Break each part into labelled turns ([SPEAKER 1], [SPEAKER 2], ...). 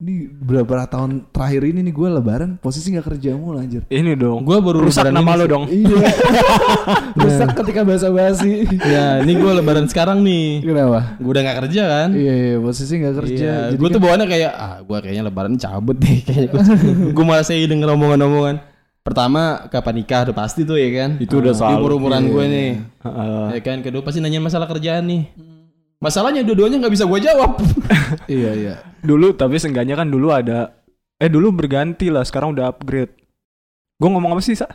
[SPEAKER 1] Ini berapa tahun terakhir ini nih gue lebaran posisi nggak kerja mulu anjir.
[SPEAKER 2] Ini dong.
[SPEAKER 3] Gua baru
[SPEAKER 2] rusak
[SPEAKER 3] lebaran
[SPEAKER 2] nama
[SPEAKER 3] ini
[SPEAKER 2] lo
[SPEAKER 3] sih.
[SPEAKER 2] dong.
[SPEAKER 1] Iya. Rusak ketika basa-basi.
[SPEAKER 3] Ya, ini gue lebaran sekarang nih.
[SPEAKER 1] Kenapa?
[SPEAKER 3] Gue udah gak kerja kan?
[SPEAKER 1] Iya, iya, posisi nggak kerja.
[SPEAKER 3] Iya,
[SPEAKER 1] Jadi
[SPEAKER 3] gue
[SPEAKER 1] kan-
[SPEAKER 3] tuh bawaannya kayak ah gue kayaknya lebaran cabut deh kayaknya gue, gue malah saya denger omongan-omongan. Pertama kapan nikah udah pasti tuh ya kan.
[SPEAKER 2] Itu udah
[SPEAKER 3] Di
[SPEAKER 2] selalu. Iya,
[SPEAKER 3] umur-umuran gue nih.
[SPEAKER 2] Heeh.
[SPEAKER 3] Ya kan kedua pasti nanya masalah kerjaan nih. Masalahnya dua-duanya nggak bisa gue jawab.
[SPEAKER 1] Hmm. Iya, iya.
[SPEAKER 2] dulu tapi seenggaknya kan dulu ada eh dulu berganti lah sekarang udah upgrade gue ngomong apa sih sa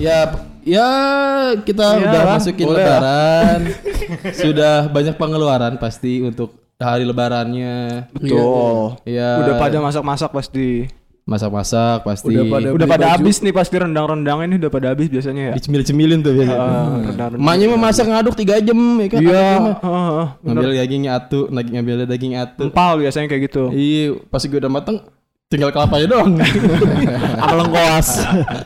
[SPEAKER 3] ya ya kita
[SPEAKER 2] Iya
[SPEAKER 3] udah
[SPEAKER 2] lah,
[SPEAKER 3] masukin
[SPEAKER 2] boleh lah.
[SPEAKER 3] lebaran. Sudah banyak pengeluaran pasti untuk hari lebarannya.
[SPEAKER 1] Iya,
[SPEAKER 2] betul
[SPEAKER 3] Ya
[SPEAKER 2] udah pada masak-masak pasti
[SPEAKER 3] masak-masak pasti.
[SPEAKER 1] Udah pada-
[SPEAKER 2] udah
[SPEAKER 1] beli
[SPEAKER 2] pada
[SPEAKER 1] baju.
[SPEAKER 2] habis nih pasti rendang-rendang ini udah pada habis biasanya ya
[SPEAKER 3] dicemil-cemilin tuh biasanya.
[SPEAKER 2] Heeh, rendang-rendang.
[SPEAKER 3] Emaknya mah masak ngaduk 3 jam ya kan.
[SPEAKER 2] iya
[SPEAKER 3] Aduknya mah.
[SPEAKER 2] heeh, heeh, bener.
[SPEAKER 3] Ngambil dagingnya atu, lagi ngambil daging atu.
[SPEAKER 2] empal biasanya kayak gitu
[SPEAKER 3] Iya, pas gue udah mateng tinggal kelapanya doang.
[SPEAKER 2] sama lengkoas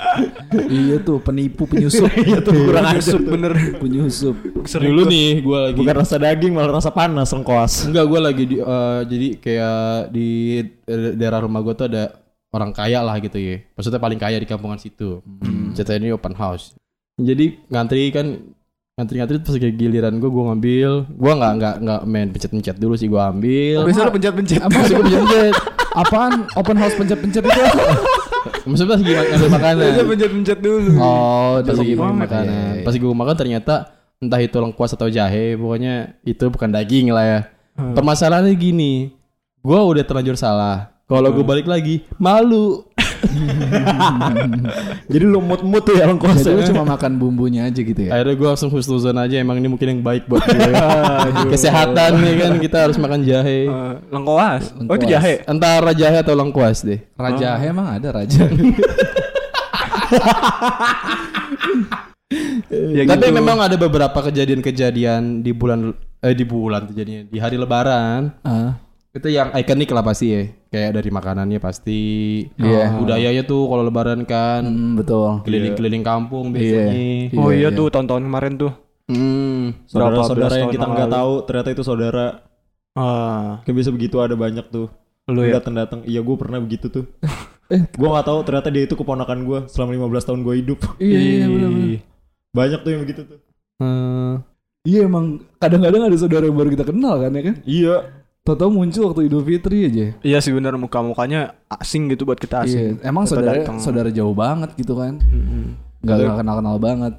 [SPEAKER 1] iya tuh penipu penyusup.
[SPEAKER 2] iya tuh kurang asup bener
[SPEAKER 1] penyusup.
[SPEAKER 3] Dulu nih gue lagi
[SPEAKER 4] Bukan rasa daging malah rasa panas lengkoas.
[SPEAKER 3] enggak gue lagi di eh, jadi kayak di eh, daerah rumah gue tuh ada orang kaya lah gitu ya. Maksudnya paling kaya di kampungan situ. Ceritanya ini open house. Jadi ngantri kan ngantri-ngantri pas kayak giliran gue gue ngambil, gue nggak nggak nggak main pencet-pencet dulu sih gue ambil.
[SPEAKER 2] biasanya lo pencet-pencet
[SPEAKER 3] Iya,
[SPEAKER 1] Apa sih pencet? Apaan open house pencet-pencet itu?
[SPEAKER 3] Maksudnya pas lagi ma- ngambil makanan.
[SPEAKER 2] biasanya Iya, pencet-pencet dulu
[SPEAKER 3] Oh, pas
[SPEAKER 2] Cocok
[SPEAKER 3] lagi
[SPEAKER 2] banget.
[SPEAKER 3] makanan.
[SPEAKER 1] Iya, iya.
[SPEAKER 3] Pas gue makan ternyata entah itu lengkuas atau jahe, pokoknya itu bukan daging lah ya. Permasalahannya gini, gue udah terlanjur salah. Kalau gue balik lagi, malu.
[SPEAKER 4] Jadi lu mut-mut tuh ya lengkoas.
[SPEAKER 1] Jadi lu cuma makan bumbunya aja gitu ya.
[SPEAKER 3] Akhirnya gue langsung husnuzon aja. Emang ini mungkin yang baik buat gue. Kesehatan nih kan kita harus makan jahe.
[SPEAKER 2] Eh, lengkoas oh itu
[SPEAKER 1] Lengkoas.
[SPEAKER 2] jahe
[SPEAKER 3] Antara jahe atau lengkuas deh.
[SPEAKER 1] Raja emang ada raja.
[SPEAKER 2] Ya
[SPEAKER 3] Iya, Tapi
[SPEAKER 2] gitu.
[SPEAKER 3] memang ada beberapa kejadian-kejadian di bulan eh di bulan kejadian di hari Lebaran
[SPEAKER 1] Ah.
[SPEAKER 3] itu yang ikonik lah pasti ya kayak dari makanannya pasti Oh,
[SPEAKER 1] Iya.
[SPEAKER 3] budayanya tuh kalau
[SPEAKER 4] Iya.
[SPEAKER 3] lebaran kan
[SPEAKER 1] Mm, betul.
[SPEAKER 3] keliling-keliling kampung biasanya
[SPEAKER 1] Iya,
[SPEAKER 2] oh iya,
[SPEAKER 1] iya.
[SPEAKER 2] tuh tahun-tahun kemarin tuh
[SPEAKER 3] Hmm.
[SPEAKER 2] Berapa belas
[SPEAKER 4] Saudara-saudara yang
[SPEAKER 2] tahun
[SPEAKER 4] kita
[SPEAKER 2] yang
[SPEAKER 4] nggak
[SPEAKER 2] lalu.
[SPEAKER 4] tahu ternyata itu saudara.
[SPEAKER 2] ah
[SPEAKER 4] Kayak bisa begitu ada banyak tuh.
[SPEAKER 2] lu ya
[SPEAKER 4] datang-datang. Iya, gue pernah begitu tuh. gue nggak tahu ternyata dia itu keponakan gue selama 15 tahun gue hidup.
[SPEAKER 1] Iya, iya, benar-benar.
[SPEAKER 4] Banyak tuh yang begitu tuh.
[SPEAKER 3] Hmm.
[SPEAKER 1] Iya emang kadang-kadang ada saudara yang baru kita kenal kan ya kan?
[SPEAKER 4] Iya.
[SPEAKER 1] Tahu-tahu muncul waktu Idul Fitri aja.
[SPEAKER 2] Iya sih bener muka-mukanya asing gitu buat
[SPEAKER 1] Iya,
[SPEAKER 2] kita asing.
[SPEAKER 1] emang
[SPEAKER 2] Kita
[SPEAKER 1] saudara
[SPEAKER 2] datang.
[SPEAKER 1] saudara jauh banget gitu kan.
[SPEAKER 2] Mm-mm.
[SPEAKER 1] Nggak nggak kenal-kenal banget.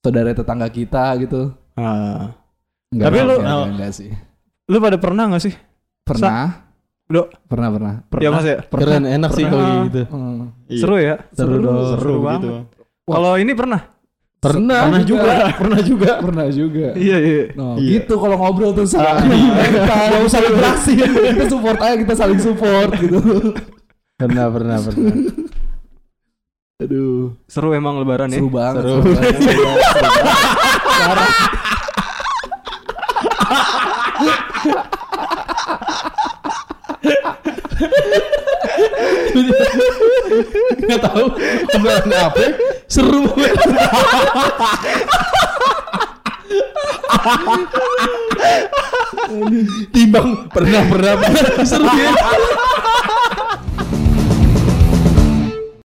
[SPEAKER 1] Saudara tetangga kita gitu.
[SPEAKER 2] Ah.
[SPEAKER 1] Nggak
[SPEAKER 2] Tapi
[SPEAKER 1] tahu
[SPEAKER 2] lu- Nah.
[SPEAKER 1] sih,
[SPEAKER 4] Kenal.
[SPEAKER 1] nggak- nggak sih.
[SPEAKER 2] Lu pada pernah gak sih?
[SPEAKER 1] Pernah,
[SPEAKER 2] Lu
[SPEAKER 1] pernah, pernah.
[SPEAKER 2] Ya mas ya?
[SPEAKER 3] Keren enak sih kalau
[SPEAKER 2] Pernah.
[SPEAKER 3] kayak gitu.
[SPEAKER 1] Hmm.
[SPEAKER 4] Iya.
[SPEAKER 2] Seru ya?
[SPEAKER 3] Seru dong.
[SPEAKER 4] Seru,
[SPEAKER 2] banget.
[SPEAKER 4] gitu.
[SPEAKER 2] Kalau ini pernah?
[SPEAKER 3] Pernah.
[SPEAKER 1] Pernah juga.
[SPEAKER 3] Pernah juga.
[SPEAKER 1] Pernah juga.
[SPEAKER 2] Iya iya.
[SPEAKER 1] Nah,
[SPEAKER 4] Iya.
[SPEAKER 1] gitu kalau ngobrol tuh salah. Kita saling beraksi. Kita support aja, kita saling support gitu.
[SPEAKER 3] Pernah, pernah, pernah.
[SPEAKER 1] Aduh,
[SPEAKER 2] Seru emang lebaran ya?
[SPEAKER 1] seru banget.
[SPEAKER 3] Seru.
[SPEAKER 1] seru banget, seru banget.
[SPEAKER 3] Enggak tahu lebaran apa. Seru banget. Timbang pernah pernah pernah. seru ya.